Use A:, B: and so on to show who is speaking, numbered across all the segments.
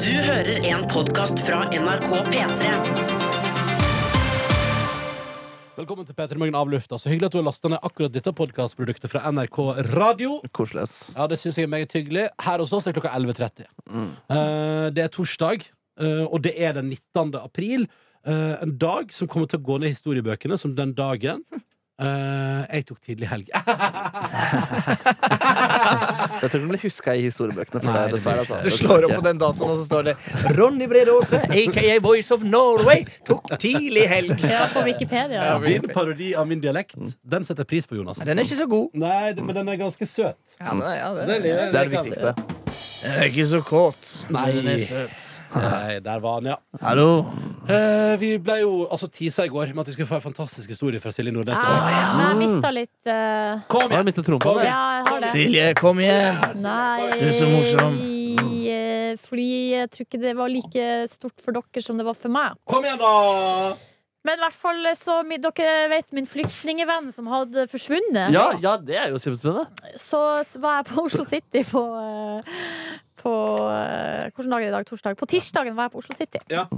A: Du hører en podkast fra NRK P3.
B: Velkommen til P3 Morgen av lufta. Så hyggelig at du har lasta ned akkurat dette podkastproduktet fra NRK Radio.
C: Koselig, ass.
B: Ja, det synes jeg er meget hyggelig. Her hos oss er klokka 11.30.
D: Mm.
B: Eh, det er torsdag, eh, og det er den 19. april. Eh, en dag som kommer til å gå ned i historiebøkene som den dagen eh, jeg tok tidlig helg.
C: Jeg tror den blir huska i historiebøkene. For
B: Nei,
C: det,
B: det blir
C: dessverre,
B: ikke
C: altså.
D: Du slår opp på den datoen, og så står det Ronny Brede Aase, aka Voice of Norway, tok tidlig helg.
E: Ja, på Wikipedia. Ja.
B: Din parodi av min dialekt, den setter jeg pris på, Jonas.
D: Den Mm. er ikke så god.
B: Nei, det- men den er ganske søt.
D: Ja, men, ja,
B: Det er litt-
C: Det er det viktigste.
D: Jeg er ikke så kåt.
B: Nei.
D: Den er søt.
B: Nei, der var den, ja.
D: Hallo.
B: Eh, vi ble jo altså teasa i går med at vi skulle få en fantastisk historie fra Silje Nordnes. i
D: Ah,
B: dag.
E: Men jeg mista litt eh,
B: Kom
C: Har
B: igjen!
C: du mistet troen på
B: Kom
C: det?
E: Ja, jeg har det.
D: Silje, kom igjen.
E: Nei
D: Du er så morsom.
E: eh, Fordi jeg tror ikke det var like stort for dere som det var for meg.
B: Kom igjen, da!
E: Men i hvert fall eh, så mi- Dere vet min flyktningevenn som hadde forsvunnet.
C: Ja, ja, det er jo kjempespennende.
E: Så s- var jeg på Oslo City på, eh, på eh, Hvilken dag er det i dag? Torsdag? På tirsdagen var jeg på Oslo City.
B: Ja.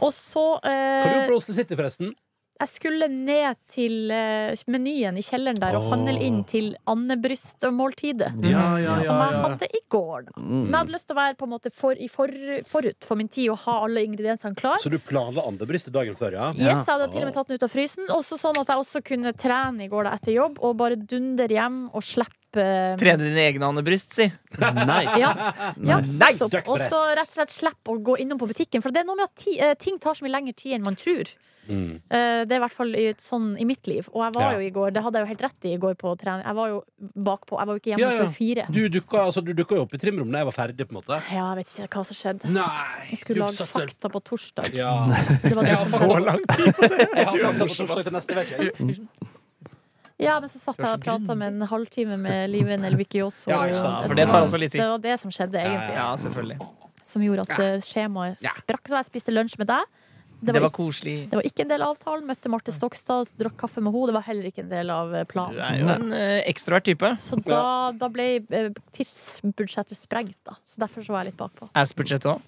E: Og så eh,
B: Kan du på Oslo City, forresten?
E: Jeg skulle ned til eh, menyen i kjelleren der og
B: Åh.
E: handle inn til andebrystmåltidet. Som jeg hadde i går.
B: Mm.
E: Da. Men jeg hadde lyst til å være på en måte for, i for, forut for min tid og ha alle ingrediensene klar.
B: Så du planla andebrystet dagen før, Sånn, ja?
E: Yes, Jeg hadde til og med tatt den ut av frysen. Også sånn at jeg også kunne trene i går da etter jobb og bare dundre hjem og slippe
D: Trene dine egne andebryst, si.
C: Nice.
E: Ja, ja
C: Nice.
E: nettopp.
B: Stuck
E: og så
B: breast.
E: rett og slett slippe å gå innom på butikken. For det er noe med at ti, eh, ting tar så mye lengre tid enn man tror.
B: Mm.
E: Eh, Det er i hvert fall i- sånn i mitt liv. Og jeg var
B: Ja.
E: jo i går, det hadde jeg jo helt rett i i går på trening. Jeg var jo bakpå. Jeg var jo ikke hjemme
B: Ja, ja.
E: før fire.
B: Du dukka altså, du dukka jo opp i trimrommet da jeg var ferdig, på en måte.
E: Ja, jeg vet ikke hva som skjedde.
B: Nei!
E: Jeg skulle
B: du
E: lage
B: satt der-
E: fakta på torsdag.
B: Ja.
E: Det var det.
B: så lang tid på det! Jeg har fakta på torsdag til neste uke. jeg.
E: Ja, men så satt jeg og prata med en halvtime med Liven Elvikioso.
B: Ja, ikke sant.
D: For det tar også litt
E: Det
D: tid.
E: var det som skjedde, egentlig.
D: Ja, selvfølgelig.
E: Som gjorde at eh, skjemaet
B: Ja.
E: sprakk. Så jeg spiste lunsj med deg. Det
D: Det
E: var,
D: var
E: ikke,
D: koselig.
E: det var ikke en del av avtalen. Møtte Marte Stokstad, drakk kaffe med henne. Det var heller ikke en del av eh,
D: Du
E: planen.
D: er jo en eh, ekstrovert type.
E: Så da, da ble eh, tidsbudsjettet sprengt, da. Så derfor så var jeg litt bakpå.
D: Ass-budsjett òg.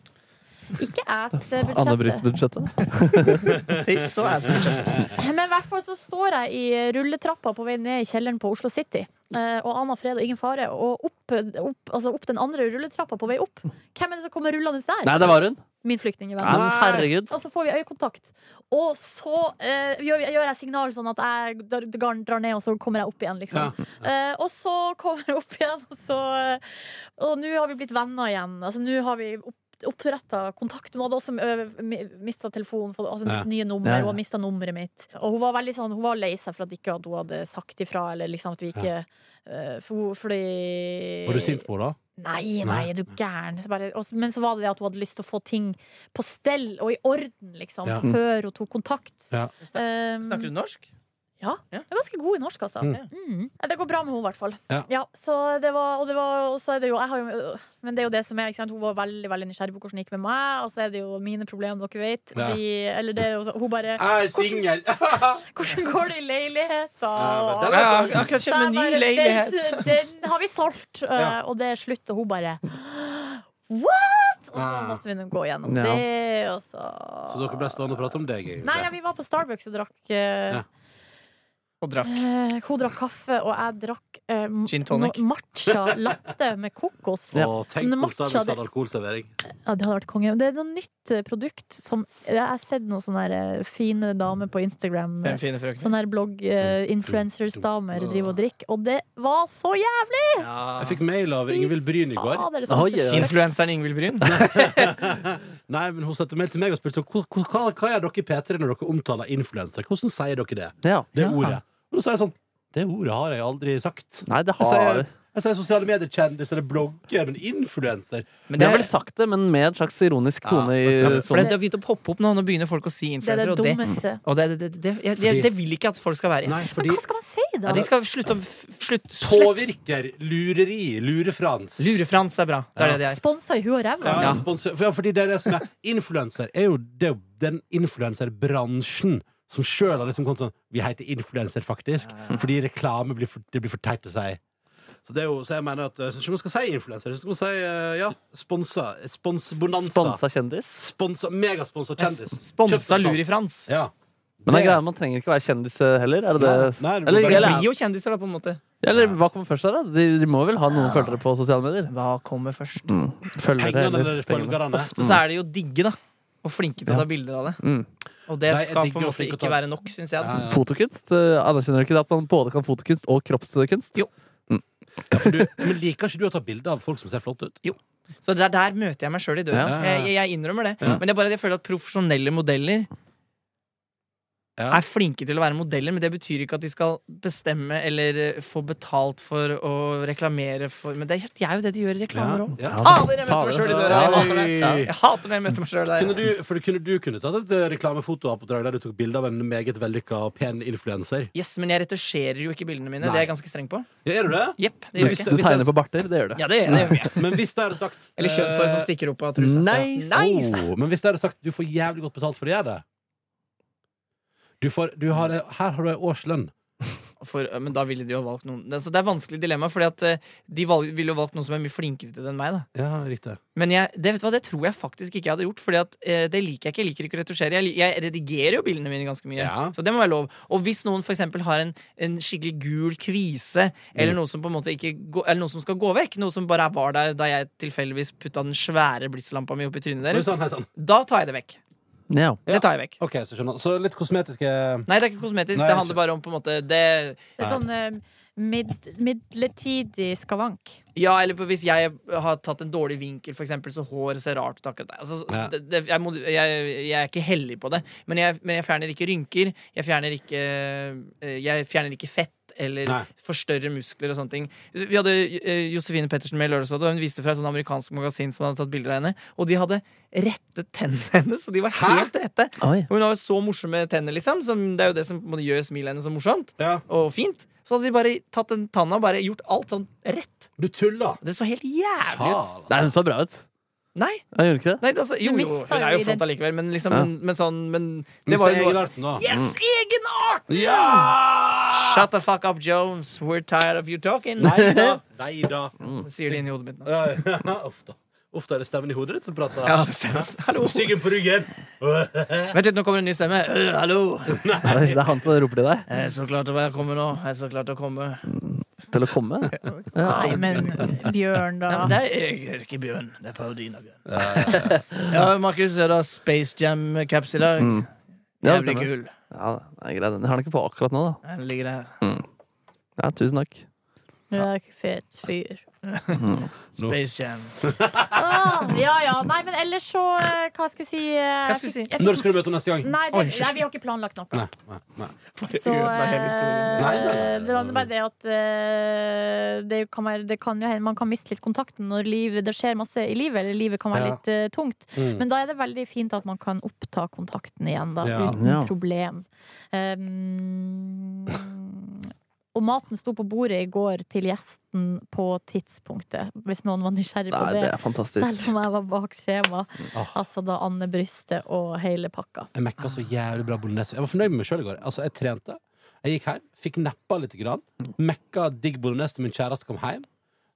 E: Ikke
C: Anne
E: ass-budsjettet.
C: Brystbudsjettet.
D: Tids og ass-budsjett.
E: Eh, Men i hvert fall så står jeg i rulletrappa på vei ned i kjelleren på Oslo City. Eh, og aner fred og ingen fare. Og opp, opp, altså opp den andre rulletrappa på vei opp. Hvem er det som kommer rullende der?
C: Nei, det var hun.
E: Min flyktningvenn.
C: Men herregud.
E: Og så får vi øyekontakt. Og så eh, gjør, gjør jeg signal sånn at jeg drar, drar- drar ned, og så kommer jeg opp igjen, liksom. Eh, og så kommer jeg opp igjen, og så eh, Og nå har vi blitt venner igjen. Altså nå har vi opp, oppretta kontakt. Hun hadde også mista telefonen, fått- altså
B: Ja.
E: mitt nye nummer.
C: Ja, ja.
E: Hun har mista nummeret mitt. Og hun var veldig sånn Hun var lei seg for at ikke at hun hadde sagt ifra, eller liksom at vi ikke eh, for, hun- Fordi
B: Var du sint på henne da?
E: Nei,
B: Nei.
E: nei, er du gæren. Så bare, og, så- men så var det det at hun hadde lyst til å få ting på stell og i orden, liksom,
B: Ja.
E: før hun tok kontakt.
B: Ja.
E: Um,
D: Snakker du norsk?
E: Ja.
D: Ja.
E: Jeg er ganske god i norsk, altså.
B: Mm.
E: Mm. Ja, Det går bra med henne, i hvert fall.
B: Ja.
E: så det var, og det var, og så er det jo, jeg har jo Men det er jo det som er, ikke sant? hun var veldig veldig nysgjerrig på hvordan det gikk med meg, og så er det jo mine problemer, dere vet.
B: Ja.
E: De, eller det er jo så- Hun bare
B: Jeg er singel!
E: Hvordan går det i leiligheta?
B: Ja, men den
D: Ja, jeg har akkurat
E: Så
D: kjøpt meg
E: jeg bare,
D: ny leilighet.
E: Den, den har vi solgt, øh,
B: Ja.
E: og det er slutt. Og hun bare What?! Og så
B: Ah.
E: måtte vi nå gå gjennom
C: Ja.
E: det, og så
B: Så dere ble stående og prate om deg, egentlig?
E: Nei, ja, vi var på Starbucks og drakk øh,
B: Ja.
D: Og drakk.
E: øh, Hun drakk kaffe, og jeg drakk øh, m-
D: Gin tonic.
E: no- matcha latte med kokos. Ja.
B: Å, tenk om
E: Matcha
B: Starbucks
E: det.
B: hadde alkoholservering.
E: det hadde vært konge. Det er et nytt øh, produkt som Jeg har sett noen sånne der, øh, fine damer på Instagram.
D: Fem
E: øh,
D: fine frøkner.
E: Sånne her
B: Mm.
E: blogg-influencers-damer driver og drikker, og det var så jævlig!
D: Ja.
B: Jeg fikk mail av Ingvild Bryn i går.
E: Fader, det er
C: Oi,
E: sant.
C: oi, oi.
D: Influenseren Ingvild Bryn.
B: Nei, men Hun sendte mail til meg og spurte så, hva, hva, hva gjør dere i P3 når dere omtaler influenser. Hvordan sier dere det?
C: Ja.
B: Det ordet. Og da sa jeg sånn Det ordet har jeg aldri sagt.
C: Nei, det
B: Jeg
C: har
B: sier, Altså, jeg sier sosiale medier-kjendis eller blogger, men influenser
D: Men
C: Jeg har vel
D: det,
C: sagt det, men med en slags ironisk tone.
B: Ja,
C: i
B: men-
D: for det,
C: sånn.
D: det har begynt å poppe opp nå. Nå begynner folk å si
E: Det er
D: influenser.
E: det
D: Og det,
E: dummeste.
D: og det, det, det, jeg- jeg- det vil ikke at folk skal være.
B: Nei,
E: Men
B: fordi
E: hva skal man si, da?
D: Ja, de skal slutte å f- slutt, slutt.
B: påvirker, lureri, lurefrans.
D: Lurefrans er bra. Det er det det er.
E: Sponsa i huet og ræva?
B: Ja,
D: Ja.
B: sponsor- for- ja, fordi det er det som er Influenser er jo, det er jo den influenserbransjen som sjøl har liksom kommet sånn Vi heter influenser, faktisk. Fordi reklame blir for, det blir for teit å si. Så, det er jo, så jeg mener at jeg syns ikke man skal si influenser. Jeg synes man skal si eh, ja, sponsa. Sponsbonanza.
C: Sponsa kjendis.
B: Sponsa, megasponsa kjendis.
D: Sponsa
B: Kjøpt betalt.
D: Lurifrans.
B: Ja.
C: Men det er greia, man trenger ikke være kjendis eh, heller. Er det det?
B: Nei, det
C: Eller,
B: blir
D: Dere
B: bare-
C: eller,
D: blir jo kjendiser, da, på en måte.
C: eller hva kommer først der? da? De, de må vel ha noen følgere på sosiale medier?
D: Hva kommer først?
C: Mm. Følgere
B: Pengene
C: eller
B: eller
C: pengene.
B: følgerne.
D: Ofte så er de jo digge, da. Og flinke til å ta bilder av det.
C: Mm.
D: Og det
B: Nei, jeg
D: skal
B: digger
D: på en
B: å
D: måte
B: flinke
D: ikke
B: til å ta-
D: være nok, syns jeg.
B: Ja,
D: da.
B: ja.
C: Fotokunst? eh, Anerkjenner du ikke det at man både kan fotokunst og kroppskunst?
D: Jo.
B: For du, men liker ikke du å ta bilde av folk som ser flotte ut?
D: Så der, der møter jeg meg sjøl i døren.
B: Ja, ja, ja.
D: Jeg, jeg innrømmer det.
B: Ja.
D: Men jeg, bare, jeg føler at profesjonelle modeller
B: Ja.
D: er flinke til å være modeller, men det betyr ikke at de skal bestemme eller eh, få betalt for å reklamere for Men det er, de er jo det de gjør i reklamer òg.
B: Ja.
D: Ah, dere møter meg sjøl i døra!
B: Ja.
D: Jeg hater det. Jeg hater når jeg møter meg sjøl der.
B: Kunne du, for kunne du kunne tatt et eh, reklamefotoapparat der du tok bilde av en meget vellykka og pen influenser?
D: Yes, men jeg retusjerer jo ikke bildene mine.
B: Nei.
D: Det er jeg ganske streng på.
B: Ja, er du det?
D: Jepp, det
C: Du,
D: gjør jeg ikke.
C: du tegner på barter, det gjør det.
D: Ja, det, det gjør jeg.
B: Men hvis det hadde sagt
D: Eller kjønnshår som stikker opp av trusa.
C: Nice!
D: Nice!
B: Oh, men hvis det hadde sagt du får jævlig godt betalt for å gjøre det du får, du har, Her har du ei årslønn.
D: For, eh, men da ville de jo ha valgt noen det, Så det er vanskelig dilemma, Fordi at eh, de valg, ville jo valgt noen som er mye flinkere til det enn meg. Da.
B: Ja, riktig.
D: Men jeg, det, vet du hva, det tror jeg faktisk ikke jeg hadde gjort, Fordi at eh, det liker jeg ikke. Jeg liker ikke å retusjere. Jeg, li- jeg redigerer jo bildene mine ganske mye.
B: Ja.
D: Så det må være lov. Og hvis noen for eksempel har en, en skikkelig gul kvise, eller
B: Mm.
D: noe som på en måte ikke gå, Eller noe som skal gå vekk, noe som bare er- var der da jeg tilfeldigvis putta den svære blitslampa mi opp i trynet
B: Oi
D: deres,
B: sann, hei sann.
D: da tar jeg det vekk.
C: Ja.
B: Ja.
D: Det tar jeg vekk.
B: Ok, så skjønner jeg. Så litt kosmetiske
D: Nei, det er ikke
B: Nei,
D: kosmetisk. det
B: ikke.
D: handler bare om på en måte det,
E: Det er sånn eh, mid, midlertidig skavank.
D: Ja, eller på, hvis jeg har tatt en dårlig vinkel, for eksempel, så håret ser rart ut akkurat der. Altså,
B: Ja.
D: det, det, jeg, må, jeg, jeg er ikke heldig på det, men jeg, men jeg fjerner ikke rynker. Jeg fjerner ikke, eh, jeg fjerner ikke fett. Eller
B: Nei.
D: forstørre muskler og sånne ting. Vi hadde eh, Josefine Pettersen med i Lørdagsrådet, og hun viste fra et sånt amerikansk magasin som hadde tatt bilder av henne. Og de hadde rette tennene hennes, og de var helt rette.
C: Oi.
D: Og hun har jo så morsomme tenner, liksom. Som, det er jo det som på en måte gjør smilet hennes så morsomt
B: ja.
D: og fint. Så hadde de bare tatt den tanna og bare gjort alt sånn rett.
B: Du tuller!
D: Det så helt jævlig ut.
B: Faen, altså.
C: Nei, hun så bra ut.
D: Nei,
C: Ja, gjorde hun ikke det?
D: nei det, altså, jo,
E: Du
D: jo,
E: mistet
D: hun er jo
E: jo
D: flott
E: ident-
D: allikevel, men liksom
C: Ja.
D: men, men sånn men,
B: Mist
D: Det var jo noe
B: egenarten, da.
D: Yes, Ah! egenart!
B: Ja!
D: Mm. Shut the fuck up, Jones. We're tired of you talking.
B: Nei da. Nei da.
D: Sier de inni hodet mitt nå.
B: Ja, ja, Ofte. Ofte er det stemmen i hodet ditt som prater.
D: Ja, det stemmer. Hallo.
B: Styggen på ryggen.
D: Vent litt, nå kommer en ny stemme. Øh, hallo.
C: Oi, Det er han som roper til deg.
D: Jeg er så klar til å være komme nå. Jeg er så klar til å komme.
C: Til å komme? Ja.
E: Nei, men
D: Nei,
E: Bjørn, da.
D: men det er jeg er ikke Bjørn. Det er parodien av Bjørn. Ja, Markus, er det Space Jam-caps i dag?
C: Mm. Ja, det
D: Jævlig
C: stemmer.
D: kul.
C: Ja, det er greit. Jeg har den ikke på akkurat nå, da.
D: Den ligger der.
C: Ja, tusen takk.
E: Du er ikke fet fyr.
D: Space Jam.
E: Ah, ja ja. Nei, men ellers så eh, Hva skal jeg si? eh,
D: Hva skal du si?
E: jeg fikk- jeg
B: Når
E: fikk-
B: skal du møte henne neste gang?
E: Nei,
D: Oi,
E: det, nei, vi har ikke planlagt noe.
B: Nei, nei, nei.
E: Så eh,
B: Nei, nei, nei, nei.
E: det var bare det at eh, det kan, være, det kan jo hende man kan miste litt kontakten når livet, det skjer masse i livet, eller livet kan være
B: Ja.
E: litt eh, tungt.
B: Mm.
E: Men da er det veldig fint at man kan oppta kontakten igjen, da,
B: Ja.
E: uten
C: Ja.
E: problem. Um, og maten sto på bordet i går til gjesten på tidspunktet, hvis noen var nysgjerrig på
C: Nei, det
E: det.
C: er fantastisk.
E: Selv om jeg var bak skjema.
B: Ah.
E: Altså da Anne Bryste og hele pakka.
B: Jeg mekka så jævlig bra bolognese. Jeg var fornøyd med meg sjøl i går. Altså, jeg trente. Jeg gikk hjem, fikk neppa litt. Grann. Mekka digg bolognese til min kjæreste kom hjem.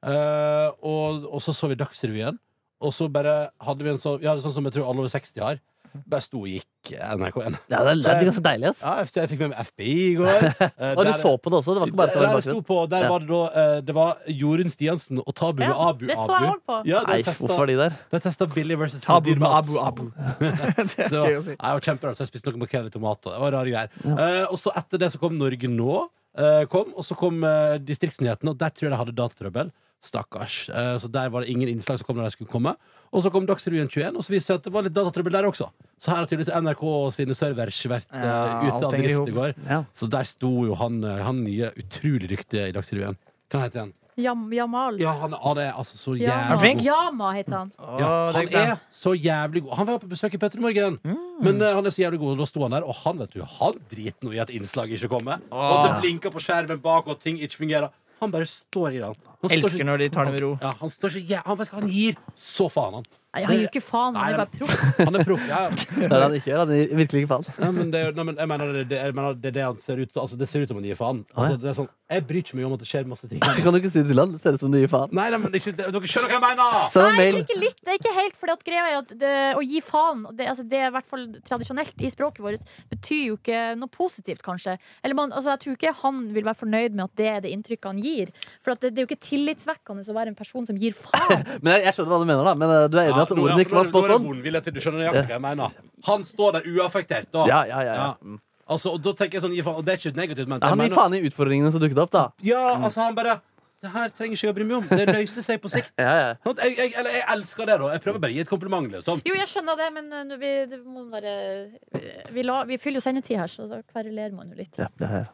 B: Eh, og, og så så vi Dagsrevyen. Og så bare hadde vi en sånn Vi hadde sånn som jeg tror alle over 60 har. Bare sto og gikk eh, NRK1.
C: Ja, det er, det er ganske deilig, ass.
B: Ja, jeg- jeg fikk med meg FBI i går. Eh,
C: Og du
B: der-
C: så på det også. Det var ikke bare at det
B: der
C: var i
B: jeg sto
C: bakgrunnen.
B: på, der
C: Ja.
B: var det da eh, Det var Jorunn Stiansen og Tabu med
E: Ja,
B: Abu
E: det så jeg
B: Abu.
E: også på.
B: Ja,
C: Nei,
B: de
C: hvorfor var
B: testa,
C: de der?
B: de testa Billy versus
D: Tabu
B: dyr
D: med
B: mat.
D: Abu Abu. det
B: Det
D: er
B: var,
D: gøy å si.
B: jeg var kjemperart, så jeg spiste noe makrell i tomat. og Det var rare greier. Eh, og så etter det så kom Norge nå. eh, kom, og så kom eh, distriktsnyhetene, og der tror jeg de hadde datatrøbbel. Stakkars. Eh, så der var det ingen innslag som kom når de skulle komme. Og så kom Dagsrevyen 21, og så viste det seg at det var litt datatrøbbel der også. Så her har tydeligvis NRK og sine servers vært eh,
D: Ja, alt
B: ute av
D: henger i hop.
B: drift i går.
C: Ja.
B: Så der sto jo han, eh, han nye, utrolig dyktige i Dagsrevyen. Hva heter han?
E: Jam, Jamal.
B: Ja, han, han er altså så
E: Jama.
B: jævlig god.
E: Jama heter han.
B: Ja,
D: Å, det
B: han
D: er
B: er så jævlig god. Han var på besøk i Petter i Morgen. Men eh, han er så jævlig god, og da sto han der, og han vet du, han driter noe i at innslaget ikke kommer. Og det blinker på skjermen bak, og ting ikke fungerer. Han bare står i det. Han står
D: Elsker
B: ikke-
D: når de tar det med ro.
B: Ja, han, står ikke, ja, han, vet ikke hva han gir så faen, han.
E: Nei, Jeg gir jo ikke faen, han
B: Nei,
E: er bare proff.
B: Han er proff. Ja, ja.
C: Det er det han ikke gjør. Han gir virkelig ikke faen.
B: Nei, men det, er jo- nei, men jeg mener det, det, jeg mener det er det han ser ut til. Altså, det ser ut som han gir faen. Altså, det er sånn, jeg bryr ikke meg om at det skjer masse ting. Nei,
C: Kan du ikke si det til han? Det ser ut som du gir faen.
B: nei, men ikke, dere skjønner hva jeg mener!
C: Send en
E: Nei, det er
C: mail.
E: ikke litt, det er ikke helt, fordi at greia er at det, å gi faen, det, altså, det er i hvert fall tradisjonelt i språket vårt, betyr jo ikke noe positivt, kanskje. Eller man, altså, jeg tror ikke han vil være fornøyd med at det er det inntrykket han gir. For at det, det er jo ikke tillitsvekkende å være en person som gir faen.
C: Men jeg, jeg skjønner hva du mener, da. Men eh, du er enig i
B: Ja,
C: at
B: nå er-
C: ordene ikke
B: nå er-
C: var
B: nå er
C: spot
B: det
C: on?
B: vondvilje til- Du skjønner nøyaktig hva jeg mener. Han står der uaffektert, da.
C: Ja, ja, ja. ja.
B: Ja. Altså, og da tenker jeg sånn, gi faen, og det er ikke negativt ment.
C: Nei,
B: Jeg
C: Han gir
B: mener-
C: faen i utfordringene som dukket opp, da.
B: Ja, altså, han bare Det her trenger ikke jeg å bry meg om. Det løser seg på sikt.
C: Ja, ja.
B: Sånn at Jeg, jeg, eller jeg elsker det, da. Jeg prøver bare å gi et kompliment, liksom.
E: Jo, jeg skjønner det, men eh, nå- vi, det må være, eh, vi, la, vi fyller jo sendetid her, så da kverulerer man jo litt.
C: Ja, det er-
B: Ja.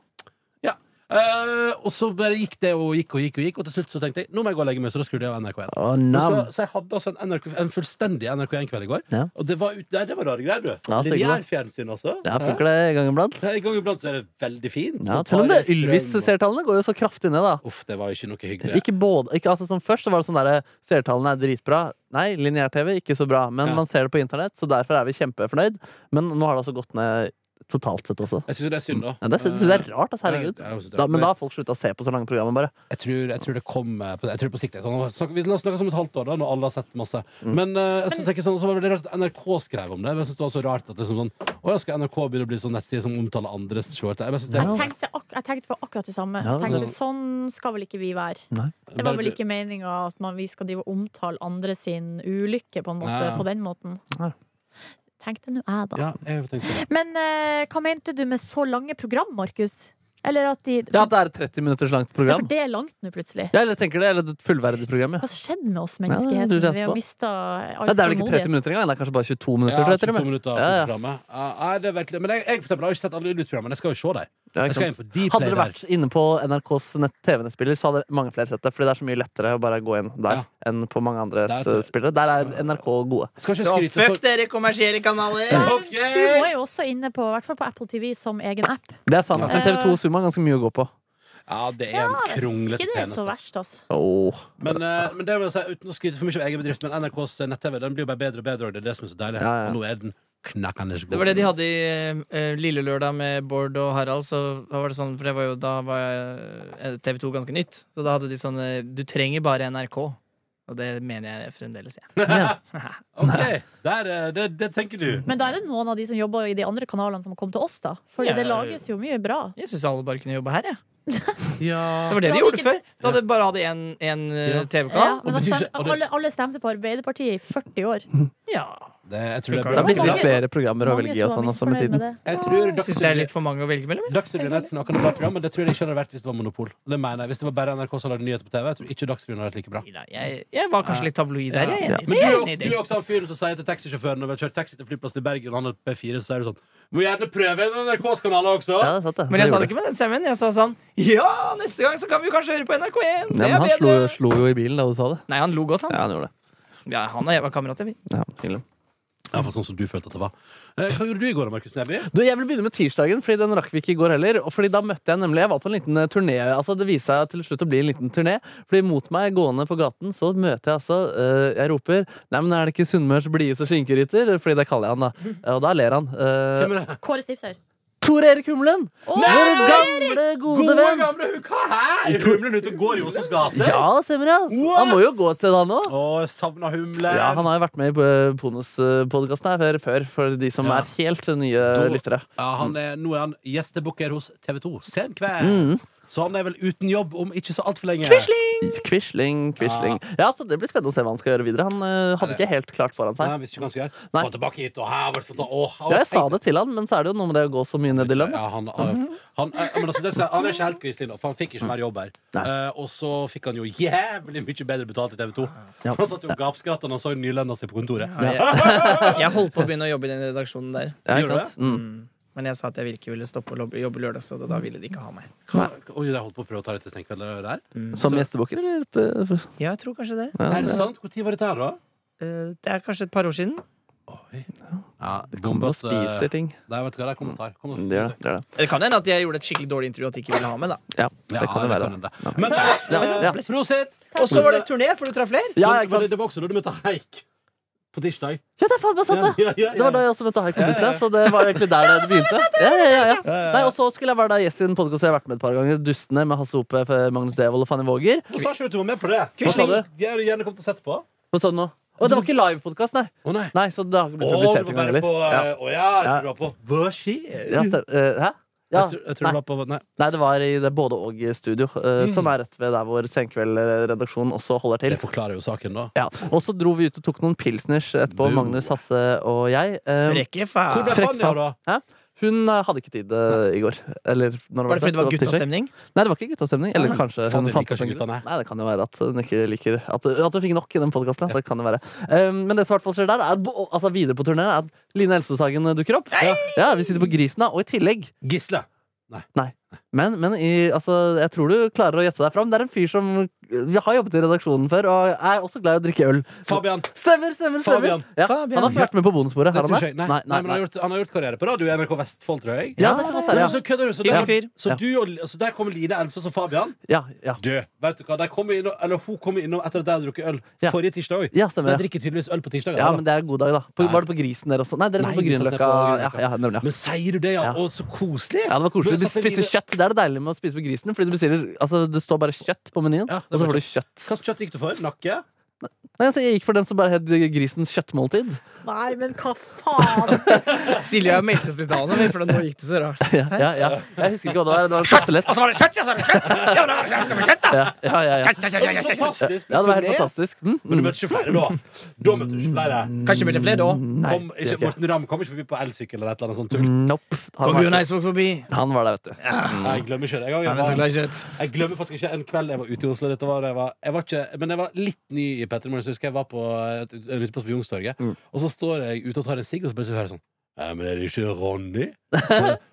B: Eh, og så bare gikk det og gikk og gikk, og gikk Og til slutt så tenkte jeg nå må jeg gå og legge meg, så da skrudde jeg av NRK1.
C: Å,
B: Og Så,
C: nam.
B: så jeg hadde altså en, NRK, en fullstendig NRK1-kveld i går.
C: Ja.
B: Og det var, ut, nei, det var rare greier, du.
C: Ja, så hyggelig, da.
B: Lineærfjernsyn også.
C: Ja, funker det en gang iblant?
B: Ja. En gang iblant så er det veldig fint.
C: Ja,
B: Så
C: til og med
B: tar jeg strøm og-
C: Ylvis-seertallene går jo så kraftig ned, da.
B: Uff, det var jo ikke noe hyggelig.
C: Ikke både, ikke, altså, som først så var det sånn derre Seertallene er dritbra. Nei, lineær-TV ikke så bra, men
B: Ja.
C: man ser det på internett, så derfor er vi kjempefornøyd. Men nå har det altså gått ned totalt sett også.
B: Jeg syns det er synd, da. Eh,
C: Ja, det syns jeg er rart, altså, herregud.
B: Ja, jeg synes det.
C: Da, men
B: Men-
C: da har folk slutta å se på så lange programmer, bare.
B: Jeg tror, jeg tror det kom eh, på, jeg tror på sikt. det er Sånn, snakk- vi snakkes om et halvt år, da, når alle har sett masse.
C: Mm.
B: Men eh, jeg synes, tenker sånn, så var det veldig rart at NRK skrev om det. Men jeg synes det var så rart at liksom sånn, Å, ja, skal NRK begynne å bli sånn nettside som omtaler andres shorts? Jeg bare synes det-
E: Jeg tenkte, ak jeg tenkte på akkurat det samme.
C: Ja,
E: Jeg tenkte,
C: det-
E: sånn skal vel ikke vi være. Det
B: bare
E: var
B: blir-
E: vel ikke meninga at man, vi skal drive og omtale andre sin ulykke på, en måte,
B: Nei.
E: på den måten.
C: Nei.
E: Tenkte nå jeg, da.
B: Ja, jeg tenkte det.
E: Men eh, hva mente du med så lange program, Markus? Eller at de
C: Ja, at det er et 30 minutters langt
E: Ja,
C: program.
E: For det er langt nå, plutselig.
C: Ja, eller tenker det, eller et fullverdig program,
E: Hva
C: ja.
E: har skjedd med oss
C: Ja,
E: menneskeheten?
C: du tenker
E: vi har
C: på.
E: mista all
C: ja. Det er vel ikke 30
E: tålmodighet.
C: minutter engang, det er kanskje bare 22
B: Ja,
C: minutter. tror jeg, til
B: 22
C: og med.
B: minutter
C: ja, ja.
B: på programmet. Ja, nei, det er virkelig, men jeg, jeg, for eksempel, har ikke sett alle Ylvis-programmene. Jeg skal jo se dem.
C: Ja,
B: Jeg
C: ikke
B: skal inn på
C: sant.
B: Dplay
C: Hadde det
B: der.
C: vært inne på NRKs nett- TV-nettspiller, så hadde mange flere sett det. Fordi det er så mye lettere å bare gå inn der
B: Ja.
C: enn på mange andre
B: Der
C: s-
B: tror jeg-
C: spillere. Der er NRK gode.
B: Skal ikke
D: Så
B: skryte for-
D: fuck dere kommersielle kanaler!
E: Nei, men
B: Ok!
E: Sumo er jo også inne på, i hvert fall på Apple TV som egen app.
C: Det er sant. Men
E: Ja.
C: TV2 Zoom har ganske mye å gå på.
B: Ja, det er en
E: Ja, jeg syns
B: kronglete
E: ikke det er så
B: tjeneste.
E: verst, altså.
C: Åh.
B: Men, eh, men det må jeg si, uten å skryte for mye av egen bedrift, men NRKs nett-TV den blir jo bare bedre og bedre, og det er det som er så deilig.
C: Ja, ja.
B: Og nå er den knakkende god.
D: Det var det de hadde i eh, Lille Lørdag med Bård og Harald. Så da var det sånn, for det var jo, da var eh, TV2 ganske nytt. Så da hadde de sånn eh, Du trenger bare NRK. Og det mener jeg fremdeles, jeg.
C: Ja.
B: Ok, der, eh, det, det tenker du.
E: Men da er det noen av de som jobber i de andre kanalene som har kommet til oss, da. For
D: Ja.
E: det lages jo mye bra.
D: Jeg syns alle bare kunne jobbe her, jeg.
B: Ja.
D: Det var det
E: Da
D: de
E: hadde
D: gjorde
E: ikke-
D: før. Da hadde de bare hadde én
B: Ja.
E: Ja,
D: eh, TV-kanal.
E: men da
B: betyr
E: stem,
B: ikke- og det-
E: alle, alle stemte på Arbeiderpartiet i 40 år.
D: Ja.
B: Det, jeg tror det
D: Funker
B: er
C: Det
B: bra.
D: det?
C: blir
E: mange-
C: sikkert flere programmer å
E: Mange
C: velge i og
E: som
C: sånn
E: var
C: også med
E: misfornøyd
C: tiden.
E: det.
B: Jeg tror
D: Syns det er
B: Dagsrevyen
D: litt for mange å velge mellom. eller?
B: Dagsrevyen er et knakende bra program, men det tror jeg ikke hadde vært hvis det var monopol. Det mener jeg. Hvis det var bare NRK som lagde nyheter på TV, jeg tror ikke Dagsrevyen hadde vært like bra.
D: Nei, Jeg, jeg var kanskje litt tabloid der. Jeg er enig i
B: Men
D: det.
B: du
D: Jeg
B: er,
D: er
B: også,
D: enig i
B: du er
D: det.
B: også han fyren som sier til taxisjåføren når vi har kjørt taxi til flyplassen i Bergen, og han har et P4, så sier du sånn Må gjerne prøve en NRK-kanal også.
C: Ja, det er sant, det.
D: Men jeg sa det
C: gjorde
D: ikke med den stemmen. Jeg sa sånn Ja, neste gang så kan vi jo kanskje høre på NRK1!
C: Nei,
D: Det
C: men
D: er
C: han slo,
D: bedre!
C: slo jo i bilen da du sa det.
D: Nei, han lo godt,
C: Ja, han
D: han.
C: gjorde det.
D: Ja, han og jeg var kamerater, vi.
C: Ja, hyggelig.
B: Ja, for sånn som du følte at det var. Eh, Hva gjorde du i går, Markus Neby?
C: Du, Jeg vil begynne med tirsdagen, fordi den rakk vi ikke i går heller. Og fordi da møtte jeg nemlig Jeg var på en liten eh, turné. altså Det viste seg til slutt å bli en liten turné. Fordi mot meg gående på gaten, så møter jeg altså eh, Jeg roper 'Nei, men er det ikke Sunnmørs Blies og skinkerytter?' Fordi det kaller jeg han, da. Og da ler han. Eh,
B: Hvem er det?
E: Kåre Stipsøyr.
C: Tor Erik Humlen! Vår gamle, gode
B: Gode,
C: venn!
B: gamle hukka her! Humlen ute og går i Oslos gater.
C: Ja, stemmer det. ass. Han må jo gå et sted, han òg.
B: Å, jeg savna humlen.
C: Ja, han har jo vært med i eh, bonuspodkasten her før, før, for de som
B: Ja.
C: er helt nye lyttere.
B: Ja, han er, nå er han gjestebukker hos TV 2 sen kveld.
C: Mm.
B: Så han er vel uten jobb om ikke så altfor lenge.
C: Quisling, Quisling. Ja, så Det blir spennende å se hva han skal gjøre videre. Han eh, hadde ikke helt klart foran
B: Nei,
C: seg.
B: han visste ikke hva han skulle gjøre.
C: Nei.
B: Få han tilbake hit, og her var det fått Åh, åh,
C: Ja, jeg sa
B: tenk
C: det til han, men så er det jo noe med det å gå så mye ned i lønn. Mhm.
B: Ja, han, han, han, eh, men altså, det, skal- han er ikke helt Quisling, da, for han fikk ikke mer jobb her.
C: Nei.
B: Eh, og så fikk han jo jævlig mye bedre betalt i TV 2.
C: Ja.
B: Han satt jo og gapskratta da han så nylønna si på kontoret.
D: Jeg holdt på å begynne å jobbe i den redaksjonen der.
C: Ja,
B: gjorde
C: ikke sant? Mm.
D: Mm. Men jeg sa at jeg vil ikke ville stoppe å lob- jobbe lørdag, så da ville de ikke ha meg.
B: Hva, oi, jeg holdt på å prøve å ta det til Stenkveldet der.
C: Som gjestebukker, eller? eh,
D: Ja, jeg tror kanskje det.
C: Ja,
B: Er det sant? Når var dette her, da?
D: Eh, Det er kanskje et par år siden.
B: Oi. Ja, eh,
C: De kommer og spiser ting.
B: Nei, vet du hva, det er kommentar. Kom og
C: Det gjør det. det, er det.
D: Det kan hende at jeg gjorde et skikkelig dårlig intervju at de ikke ville ha med, da.
C: Ja, det kan det være.
B: hende. Men eh,
C: Ja, ja.
B: prosit!
D: Og så var det turné, for du traff flere.
C: Ja,
B: Men- men
C: ikke sant?
B: det, det var også da du møtte Heik på tirsdag.
C: Ja, det er faen meg sant, det!
B: Ja, ja, ja,
C: Det var da jeg også møtte Heiko sist, ja, så det var egentlig der det begynte. Ja, ja, ja, ja. Nei, Og så skulle jeg være der i Yes sin podkast jeg har vært med et par ganger. Dustene med Hasse Ope, Magnus Devold og Fanny Våger.
B: Hvorfor sa ikke du at du var med på det?
C: Hva sa du?
B: Jeg hadde gjerne kommet og sett på. Å
C: Hva sa du nå? Å, det var ikke livepodkast, nei.
B: nei.
C: Nei, så det har
B: Å,
C: ikke blitt
B: du
C: publisert
B: var
C: engang
B: bare på
C: heller.
B: eh,
C: Ja.
B: Å ja, jeg
C: Ja.
B: tror du var på Hva skjer?
C: Ja, stem- eh, hæ? Ja.
B: Jeg tror, jeg tror
C: Nei.
B: du var på Nei.
C: nei, det var i det både og-studio, som er rett ved der hvor Senkveld-redaksjonen også holder til.
B: Det forklarer jo saken, da.
C: Ja. Og så dro vi ut og tok noen pilsners etterpå,
B: Du.
C: Magnus, Hasse og jeg. Eh,
D: Frekke
B: Hvor
D: faen.
B: ble
C: frekk
B: Fanny av, da?
C: Hæ? Hun eh, hadde ikke tid eh, i går. Eller når
D: Var det fordi det var
C: tirsdag.
D: guttastemning?
C: Nei, det var ikke guttastemning. Eller
D: Nei.
C: kanskje
B: Faen,
C: hun
B: de
C: fant
B: liker
C: opp en
B: ikke
C: gutt-
B: guttene.
C: Nei, det kan jo være at hun ikke liker At, at hun fikk nok i den podkasten. Det kan jo være. Um, men det som i hvert fall skjer der, er at, bo- altså videre på turneen, er at Line Elsesagen dukker opp. Ja. ja, Vi sitter på Grisen, da. Og i tillegg
B: Gisle.
C: men, men i, altså, jeg tror du klarer å gjette deg fram. Det er en fyr som Vi har jobbet i redaksjonen før, og er også glad i å drikke øl.
B: Fabian.
C: Stemmer, stemmer,
B: Fabian.
C: stemmer! Ja,
D: Fabian.
C: Han har ikke vært med på bonussporet,
B: Det
C: har
B: tror
C: han
B: ikke
C: det?
B: jeg. Nei, nei, men han har, gjort, han har gjort karriere på radio i NRK Vestfold, tror jeg.
C: Ja, det kan godt
B: Nei,
C: være.
B: men så kødder du, så,
D: Hyggelig
B: der,
D: fyr.
B: så
C: Ja.
B: du og, så der kommer Line Elfes og Fabian.
C: Ja, ja,
B: Du, vet du hva, de kommer innom, eller Hun kommer innom etter at de har drukket øl
C: Ja.
B: forrige tirsdag òg.
C: Ja,
B: så
C: stemmer,
B: de
C: ja.
B: drikker tydeligvis øl på tirsdag.
C: ja, men det er en god dag, da. På,
B: Ja.
C: var det på Grisen der også? Nei, dere
B: Nei,
C: satt på
B: vi satt ned
C: Grünerløkka.
B: på
C: Ja,
B: Grünerløkka.
C: ja, nemlig. ja.
B: Men sier du det, ja? Og så koselig!
C: Ja, det var koselig.
B: Men
C: Du
B: satt
C: spiser
B: Line-
C: kjøtt. Det er det deilige med å spise på grisen. Fordi du bestiller, altså, Det står bare kjøtt på menyen,
B: Ja, det er
C: og så
B: bare
C: får du kjøtt.
B: Hva slags kjøtt gikk du for? Nakke?
C: Nei, altså, Jeg gikk for den som bare het grisens kjøttmåltid.
E: Nei, men hva faen?
D: Silje har meldt oss litt av henne, for nå gikk det så rart.
C: Ja, ja, ja. Jeg husker ikke hva det var. Det var skattelett.
D: var det kjøtt, ja, så var det kjøtt! Ja, det var kjøtt,
C: Ja, ja, ja, ja.
B: Fantastisk!
C: ja, det var
B: Turné.
C: helt fantastisk. Mm,
B: Men du
C: mm.
B: møtte ikke flere da? Da møtte du ikke flere.
D: Kanskje blir det flere da.
C: Nei,
B: Kom,
C: det
B: ikke,
C: gjør ikke jeg.
B: Morten Ramm kom ikke forbi på elsykkel eller et eller annet sånt tull.
C: mm, Nope. Han
D: Kom Bjørn
C: var,
D: Eidsvåg forbi.
C: han var der, vet du.
B: Jeg glemmer ikke det. Jeg,
D: Han er
B: jeg,
D: så
B: var,
D: glad i kjøtt.
B: jeg glemmer faktisk ikke en kveld jeg var ute i Oslo. Dette var, jeg var, jeg var ikke, men jeg var litt ny i Petter Morgen, så jeg husker jeg var på et en uteplass på Youngstorget.
C: Mm.
B: Og så står jeg ute og tar en sigg, og så plutselig hører jeg sånn «Eh, men er det ikke Ronny?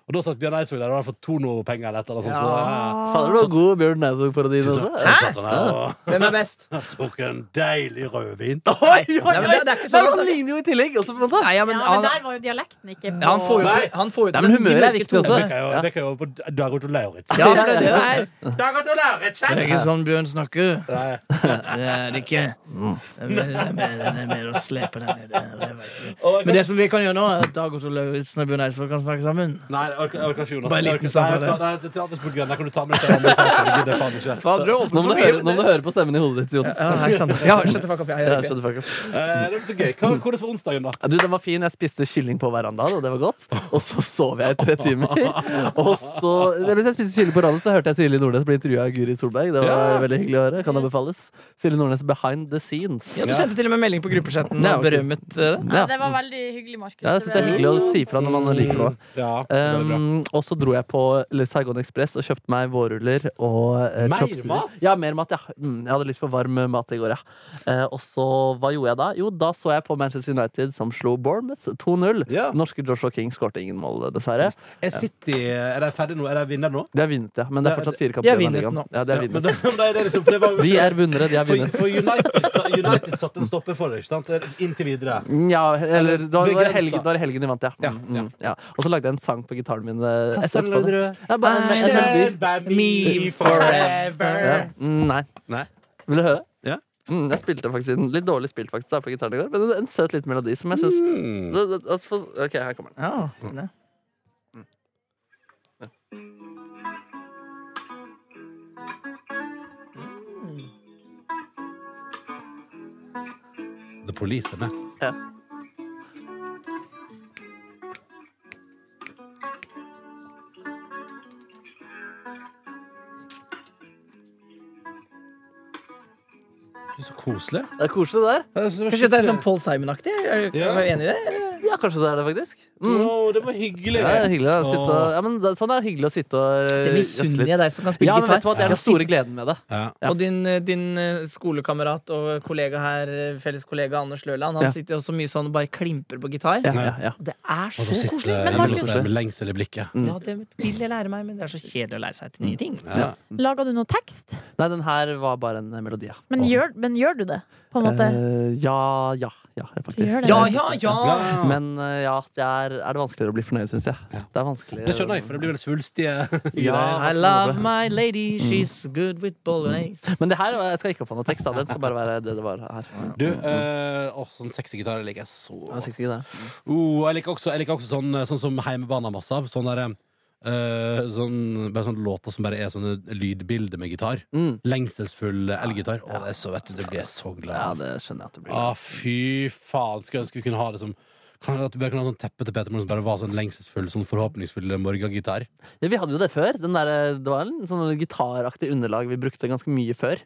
B: og da satt Bjørn Eidsvåg der og hadde fått Tono-penger eller et eller annet sånt. Så,
C: Fader,
D: Sånn.
C: det var god Bjørn Eidsvåg-parodien
B: Tusen
C: også.
B: takk.
C: Ja.
B: Så satt han her og
D: Hvem er best?
B: tok en deilig rødvin.
C: Oi, oi,
D: Nei, men det- det er ikke
C: Nei, men
D: sånn-
C: han ligner jo i tillegg. Også, på en måte.
D: Nei, ja,
E: Ja,
D: men,
E: men
D: han,
E: der var jo dialekten ikke på
D: ja, han får jo
B: Nei.
D: til, han får
C: Nei,
D: jo til
C: men
D: den
C: humøret er
D: mørke
C: viktig også.
D: tonen.
B: Det kan jo, det kan jo på Dag Otto Lauritz.
D: Ja, for det er det det er.
B: Dag Otto Lauritz!
D: Det er ikke sånn Bjørn snakker.
B: Nei.
D: Det er det ikke.
C: Mm.
D: Det er mer, det er mer å slepe deg ned. Det vet du.
B: Og jeg
D: Men det som vi kan gjøre nå, er at Dag Otto Lauritzen og Bjørn Eidsvåg kan snakke sammen.
B: Nei, jeg orker, jeg orker ikke Jonas.
D: Bare en
B: Jeg
D: liten
B: orker- Nei,
D: samtale.
B: Nei, til Teatersportgren, der kan du ta med deg til andre etater. Det gidder jeg faen ikke.
D: Fader, du
C: Nå må du høre, nå må du høre på stemmen i hodet ditt, Jonas.
D: Ja, hei sann. Ja, shut the fuck up. Jeg
C: Ja,
D: gjør
C: shut
D: ikke det.
C: the fuck up.
B: Eh, det var så gøy. Hva, hvordan var onsdagen, da?
C: Du, den var fin. Jeg spiste kylling på verandaen, og det var godt. Og så sov jeg i tre timer. Og så, Mens jeg spiste kylling på verandaen, så hørte jeg Silje Nordnes bli intervjua av Guri Solberg. Det
B: Ja.
C: var veldig hyggelig å høre. Kan anbefales. Silje Nordnes behind the scenes.
D: Ja, du sendte til og med melding på gruppechatten
C: Ja,
D: og
C: ok.
D: berømmet eh, det.
E: Ja, det var veldig hyggelig, Markus.
C: Ja, jeg syns det er hyggelig å si fra når man liker noe.
B: Ja, det var bra.
C: Um, og så dro jeg på Saigon Express og kjøpte meg vårruller og eh,
B: Mer
C: chopsuey.
B: mat?
C: Ja, mer mat, ja. Mm, jeg hadde lyst på varm mat i går, ja. Eh, og så, hva gjorde jeg da? Jo, da så jeg på Manchester United som slo Bournemouth 2-0.
B: Ja.
C: Norske Joshua King skårte ingen mål, dessverre.
B: Er City Er de ferdig nå? Er de vinner nå?
C: De har vunnet, ja. Men det er
B: Ja,
C: fortsatt fire
D: de har
C: kamper igjen av
D: vunnet
C: ligaen.
D: nå.
C: Ja, de har
B: Ja, men
C: vunnet.
B: det, men det er liksom, for det var,
C: De er vinnere, de har
B: for,
C: vunnet.
B: for United, sa- United satte en stopper for det, ikke sant? Inntil videre.
C: Ja, eller det var, det var,
B: Begrensa.
C: helgen, det var helgen de vant, ja. Mm,
B: Ja, ja.
C: mm, ja. Og så lagde jeg en sang på gitaren min. eh,
B: sang
C: etterpå
B: lagde
C: det.
B: du?
C: Ja, bare en, en melodi.
B: Stand by me forever.
C: Ja.
D: Eh,
C: Mm, Nei.
B: Nei.
C: Vil du høre?
B: Ja.
C: Mm, jeg spilte faktisk en litt dårlig spilt faktisk da, på gitaren i går, men en, en søt liten melodi som jeg syns
B: Mm.
C: det- det- altså, OK, her kommer den.
D: Ja, spennende.
B: The police er med.
C: Ja.
B: Det er så koselig.
C: Det er koselig, det der.
D: Kanskje det er sånn Paul Simon-aktig? Er du
B: Ja.
D: er du enig i det? eller?
C: Ja, kanskje det er det, faktisk. Mm.
B: Wow, det var hyggelig.
C: Ja, det er hyggelig, da, å sitte, og-
B: Åh.
C: ja, men det, sånn er det hyggelig å sitte og eh,
D: Det
C: jazze
D: misunner jeg
C: litt.
D: deg som kan spille
C: Ja, men vet du hva,
D: gitar.
C: det er
D: Ja.
C: den store gleden med det.
B: Ja.
C: Ja.
D: Og din, eh, din eh, skolekamerat og kollega her, eh, felles kollega Anders Løland, han
C: Ja.
D: sitter også mye sånn og bare klimper på gitar.
C: Ja, ja, ja.
D: Det er
B: Og
D: så
B: så sitter
D: koselig.
B: eh,
E: Men
B: Emil
E: Markus-
B: også der med lengsel i blikket.
D: Ja, det vil jeg lære meg, men det er så kjedelig å lære seg til nye ting.
B: Ja.
E: Laga du noe tekst?
C: Nei, den her var bare en eh, melodi, ja.
E: Men, gjør, men gjør du det? på en måte.
C: Eh, ja, ja, ja, faktisk.
E: gjør det.
D: Ja, ja, ja!
B: Men
C: Men eh, ja, det er, er det vanskeligere å bli fornøyd, syns jeg. Det er vanskelig.
B: det skjønner jeg, for det blir vel svulstige
C: Ja.
B: greier.
D: I love my lady, she's good with bolognese.
C: Men det her jeg skal ikke få noe tekst. Da. Den skal bare være det det var her.
B: Du, eh, åh, sånn sexy gitar liker jeg så
C: Jeg synes ikke det.
B: Oh, jeg, liker også, jeg liker også sånn, sånn som heimebane har masse av. Sånn der, eh, sånn, bare sånne låter som bare er sånne lydbilder med gitar.
C: Mm.
B: Lengselsfull elgitar. Å, det er så, vet du, det blir jeg så glad
C: Ja,
B: av.
C: det skjønner jeg at det blir.
B: Ah, fy faen, skulle ønske vi kunne ha det som kan, At vi bare kunne ha sånn teppe til Peter Morgen som bare var sånn lengselsfull, sånn forhåpningsfull morgengitar.
C: Ja, vi hadde jo det før. Den der, det var en sånn gitaraktig underlag vi brukte ganske mye før.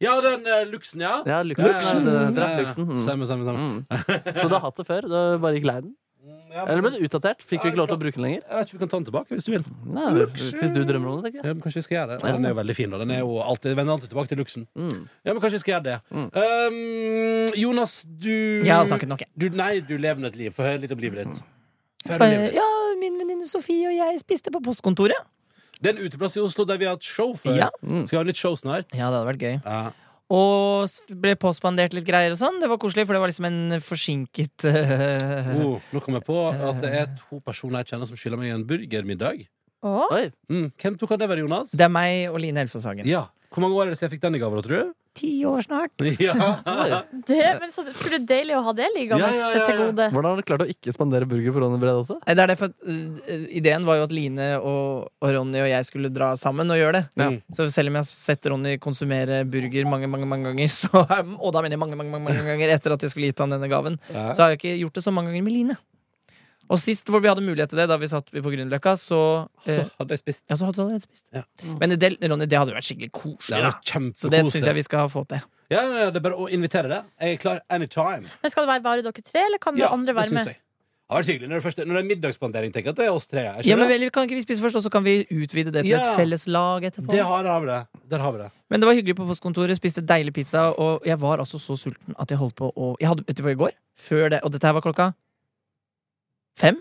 B: Ja, den uh, luksen, ja.
C: Ja, Luxen.
B: Luxen.
C: Ja, det- det er Luxen. Mm.
B: Stemmer, stemmer, stemmer.
C: Mm. Så du har hatt det før. Det bare gikk lei den.
B: Ja,
C: Eller ble det utdatert? Fikk vi ikke lov til å bruke den lenger?
B: Jeg vet ikke, Vi kan ta den tilbake hvis du vil.
C: Nei, hvis du drømmer om det, tenker jeg.
B: Ja, men kanskje vi skal gjøre det
C: Ja.
B: Den er jo veldig fin. da Den er jo alltid, vender alltid tilbake til luksen.
C: Mm.
B: Ja, men kanskje vi skal gjøre det. Um, Jonas, du
D: Jeg har snakket nok, jeg.
B: Du, nei, du lever nå et liv. Få høre litt om livet
C: Mm.
B: ditt. Få høre om livet
D: Ja, min venninne Sofie og jeg spiste på postkontoret.
B: ditt. Det er en uteplass i Oslo der vi har hatt show før.
D: Ja.
C: Mm.
B: Skal vi ha nytt show snart?
D: Ja, det hadde vært gøy.
B: Ja.
D: Og s- ble påspandert litt greier og sånn. Det var koselig, for det var liksom en forsinket eh,
B: Oh, nå kom jeg på at det er to personer jeg kjenner som skylder meg en burgermiddag.
E: Å,
C: Oi.
B: Mm. Hvem tok av det, var det, Jonas?
D: Det er meg og Line Elfsås Hagen.
B: Ja. Hvor mange år er det siden jeg fikk den i gave, da, tror du?
D: Ti år snart.
B: Ja.
C: Oi.
E: det, men så, tror du det er deilig å ha det liggende
B: Ja, ja, ja, ja.
E: til gode?
C: Hvordan har du klart å ikke spandere burger på Ronny Brede også?
D: Nei, Det er det, for at, eh, Ideen var jo at Line og, og Ronny og jeg skulle dra sammen og gjøre det.
C: Ja.
D: Så selv om jeg har sett Ronny konsumere burger mange mange, mange ganger, så, og da mener jeg mange, mange, mange, mange ganger etter at jeg skulle gitt han denne gaven,
B: Ja.
D: så har jeg ikke gjort det så mange ganger med Line. Og sist hvor vi hadde mulighet til det, da vi satt på Grünerløkka, så,
B: Så
D: eh,
B: hadde jeg spist.
D: Ja, så hadde du allerede spist.
B: Ja.
D: Men det, Ronny, det hadde jo vært skikkelig
B: Det
D: koselig.
B: er
D: Da. Så det syns jeg
B: kjempekoselig.
D: vi skal få til.
B: Ja, ja, ja, det er bare å invitere det. Jeg er klar anytime.
E: Men Skal det være bare dere tre, eller kan det andre være
B: synes
E: med?
B: jeg. Det har vært hyggelig når det, første, når det er middagsspandering. Tenk at det er oss tre. Jeg
D: Ja, men
B: skjønner.
D: vel, Kan ikke vi spise først, og så kan vi utvide det til
B: Ja.
D: et felles lag etterpå?
B: det har, der har vi det. Der har vi det.
D: Men det var hyggelig på postkontoret, spiste deilig pizza, og jeg var altså så sulten at jeg holdt på å jeg hadde, Vet du hva, i går, før det, og dette her var klokka fem,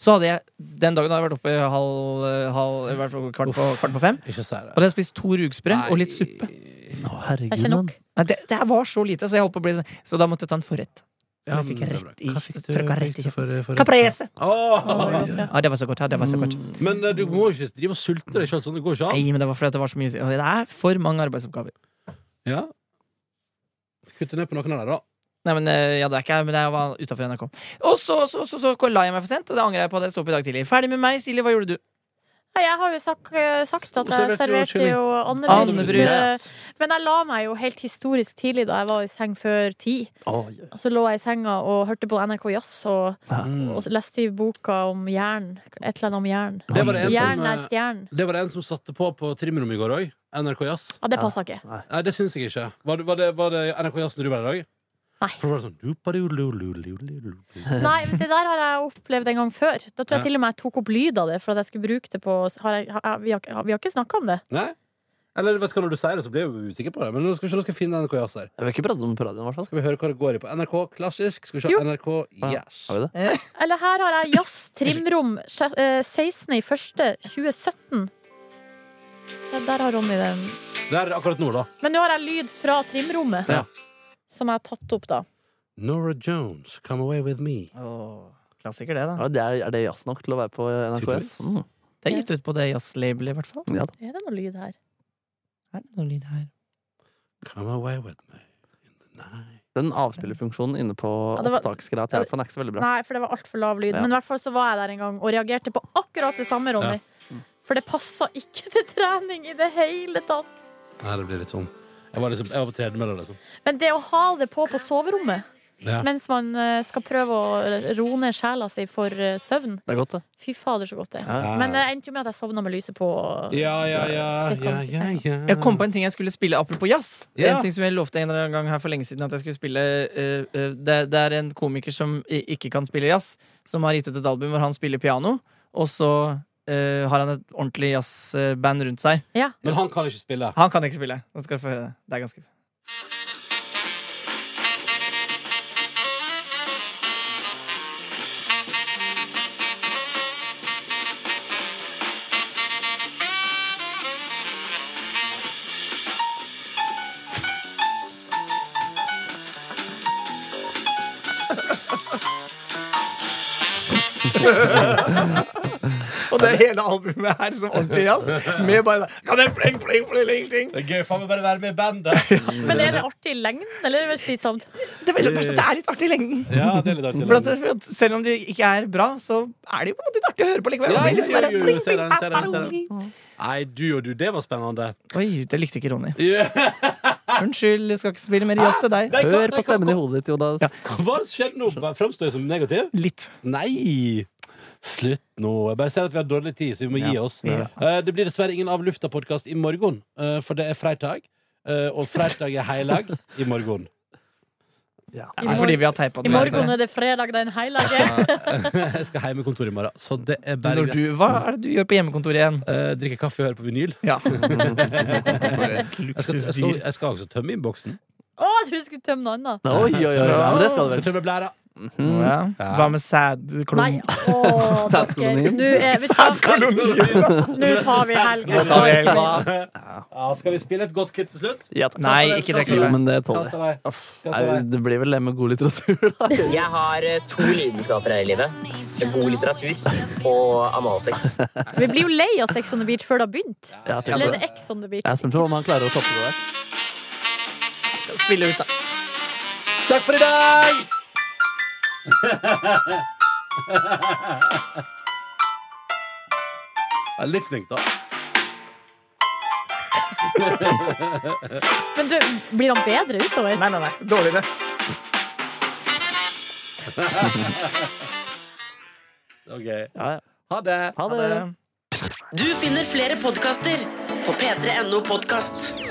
D: så hadde jeg Den dagen hadde jeg vært oppe i halv, halv i hvert fall kvart, på, kvart på fem,
B: Ikke si
D: og
B: det.
D: hadde jeg spist to rugbrød og litt
C: Å,
D: suppe.
E: Det er
C: herregud,
E: ikke nok.
D: Nei, det, det her var så lite, så jeg holdt på å bli sånn Så da måtte jeg ta en forrett. Så
B: Ja,
D: jeg fikk
B: men det er bra.
D: rett i
B: Hva fikk du-
D: trykket rett i
B: fikk du for- for-
D: Caprese!
E: Å,
B: Åh!
E: godt, ja.
D: Ja, det var så godt. Ja, det var så godt.
C: Mm.
B: Men eh, du må ikke drive og sulte deg selv sånn. Det går ikke an.
D: Nei, men det var fordi at det var så mye Det er for mange arbeidsoppgaver.
B: Ja. Kutte ned på noen av dem, da.
D: Nei, men eh, ja, det er ikke jeg, men jeg var utafor NRK. Og så, så, så, så, la jeg meg for sent, og det angrer jeg på. Det sto opp i dag tidlig. Ferdig med meg, Silje. Hva gjorde du?
E: Nei, Jeg har jo sagt, eh, sagt at jeg
B: Serverte jo
E: serverte
B: chili.
E: jo
D: Andebrus.
E: andebrus. eh, Men jeg la meg jo helt historisk tidlig da jeg var i seng før ti.
C: Oi.
E: Og så lå jeg i senga og hørte på NRK Jazz og,
B: Mm.
E: og leste i boka om jern. Et eller annet om jern.
B: Det var det en som,
E: Jern er
B: eh,
E: stjernen.
B: det var det en som satte på på trimrommet i går òg. NRK Jazz.
E: Ja, det passa ikke.
B: Nei, det syns jeg ikke. Var det, var det, var det NRK Jazz når du var der i dag?
E: Nei.
B: For det var sånn dupadulululululu.
E: Nei, men Det der har jeg opplevd en gang før. Da tror jeg til og med jeg tok opp lyd av det. For at jeg skulle bruke det på har jeg, har, Vi har, ikke- vi har ikke snakka om det.
B: Nei? Eller vet du hva, når du sier det, så blir jeg jo usikker på det. Men nå skal vi se, nå skal jeg finne NRK Jazz her.
C: Jeg vil ikke prate om det på radioen, i hvert fall.
B: Skal vi høre hva det går i på NRK klassisk? Skal vi se
E: Jo.
B: NRK Jazz.
C: Har vi det?
E: Eller her har jeg Jazz trimrom sje- eh, 16. i første 2017. Ja, der har Ronny den.
B: Det er akkurat nå, da.
E: Men nå har jeg lyd fra trimrommet.
B: Ja.
E: Som jeg har tatt opp, da.
B: Nora Jones, come away with me.
D: klassiker, det, da.
C: Ja, det er, er det jazz nok til å være på NRKS?
B: Tydeligvis.
C: Mm.
D: Det er gitt ut på det jazzlabelet, i hvert fall.
C: Ja, da.
E: Er det noe lyd her?
D: Er det noe lyd her?
B: Come away with me in the night.
C: Den avspillerfunksjonen inne på
E: Ja, det var-
C: opptaksgreia til iPhone er ikke så veldig bra.
E: Nei, for det var altfor lav lyd.
C: Ja.
E: Men i hvert fall så var jeg der en gang og reagerte på akkurat det samme, Ronny. For det passa ikke til trening i det hele tatt.
B: Nei, det blir litt sånn. Jeg var, liksom, jeg var på tredemølla, liksom.
E: Men det å ha det på på soverommet
B: Ja.
E: mens man eh, skal prøve å roe ned sjela si for eh, søvn
C: Det er godt, det.
E: Fy fader, så godt det er.
C: Ja.
E: Men det endte jo med at jeg sovna med lyset på. og-
B: Ja, ja, ja, ja,
E: Sittende i
B: ja,
E: senga.
B: ja.
D: Jeg kom på en ting jeg skulle spille apropos jazz.
B: Ja.
D: En ting som jeg lovte en eller annen gang her for lenge siden at jeg skulle spille eh, eh, det, det er en komiker som i- ikke kan spille jazz, som har gitt ut et album hvor han spiller piano, og så eh, har han et ordentlig jazzband rundt seg.
E: Ja.
B: Men han kan ikke spille.
D: Han kan ikke spille. Nå skal du få høre det. Det er ganske Og det er hele albumet her som ordentlig jazz. Med bare Kan jeg pling, pling, pling, pling
B: Det er gøy, faen meg bare være med i bandet.
E: Men er det artig i lengden, eller er det sånn, slitsomt?
D: Det er, det er litt artig i lengden.
B: Ja, det er litt artig.
D: For at, for at selv om de ikke er bra, så er de på en måte litt artig å høre på likevel.
B: Ja,
D: Det er litt sånn der,
B: jo, jo, jo,
D: pling,
B: ser den,
D: pling,
B: ser den, ser Nei, du og du, det var spennende.
D: Oi, det likte ikke Ronny.
B: Ja.
D: Unnskyld, jeg skal ikke spille mer jazz til deg.
B: Nei, hva-
C: Hør
B: nei,
C: på
B: hva-
C: stemmen i hodet ditt, Jonas.
B: Hva hva har skjedd nå? Framstår jeg som negativ?
D: Litt.
B: Nei! Slutt nå. Jeg bare ser at vi har dårlig tid, så vi må gi oss.
D: Ja.
B: Eh, det blir dessverre ingen Av lufta-podkast i morgen, eh, for det er fredag. eh, og fredag er heilag i morgen.
E: I
D: Nei,
E: mor-
D: fordi vi har teipa
E: I morgen er det fredag, den heilige.
B: Jeg skal hjem i kontoret i morgen, så det er bare
D: Når du, hva er det du gjør på hjemmekontoret igjen?
B: Eh, drikke kaffe og høre på vinyl.
D: Ja. For et
B: Jeg skal, jeg skal,
D: luksusdyr.
B: jeg skal også tømme innboksen.
E: Å, jeg trodde du skulle tømme noe annet.
C: Oi, oi, oi. Ja, men det skal du
B: Skal
C: vel.
B: tømme blæra.
D: Ja.
B: Ja.
D: Hva med
E: Nei.
D: sædklump?
E: Å, dere.
C: Sædkolonien.
E: Nå er- vet du hva? Nå tar vi
D: Nå tar vi
E: helgen.
D: helga.
B: Ja, skal vi spille et godt klipp til slutt?
C: Ja, takk.
D: Nei, ikke det
C: Jo,
D: klippet.
C: men det tåler jeg.
B: Kassa deg. Kassa
C: Nei,
B: deg.
C: Det blir vel det med god litteratur, da.
F: Jeg har eh, to lidenskaper her i livet. God litteratur og analsex.
E: Vi blir jo lei av Sex on the Beach før det har begynt.
C: Ja,
D: altså-
C: tenk
E: Eller
C: så.
E: er det X on the Beach?
C: Jeg er spent på om han klarer å toppe det der.
D: Spille ut, da.
B: Takk for i dag! Jeg er litt flink, da.
E: Men du, blir han bedre utover?
D: Nei, nei, nei. Dårligere.
B: Ok.
C: Ja, ja.
B: Ha det.
C: Ha det.
A: Du finner flere podkaster på p3.no podkast.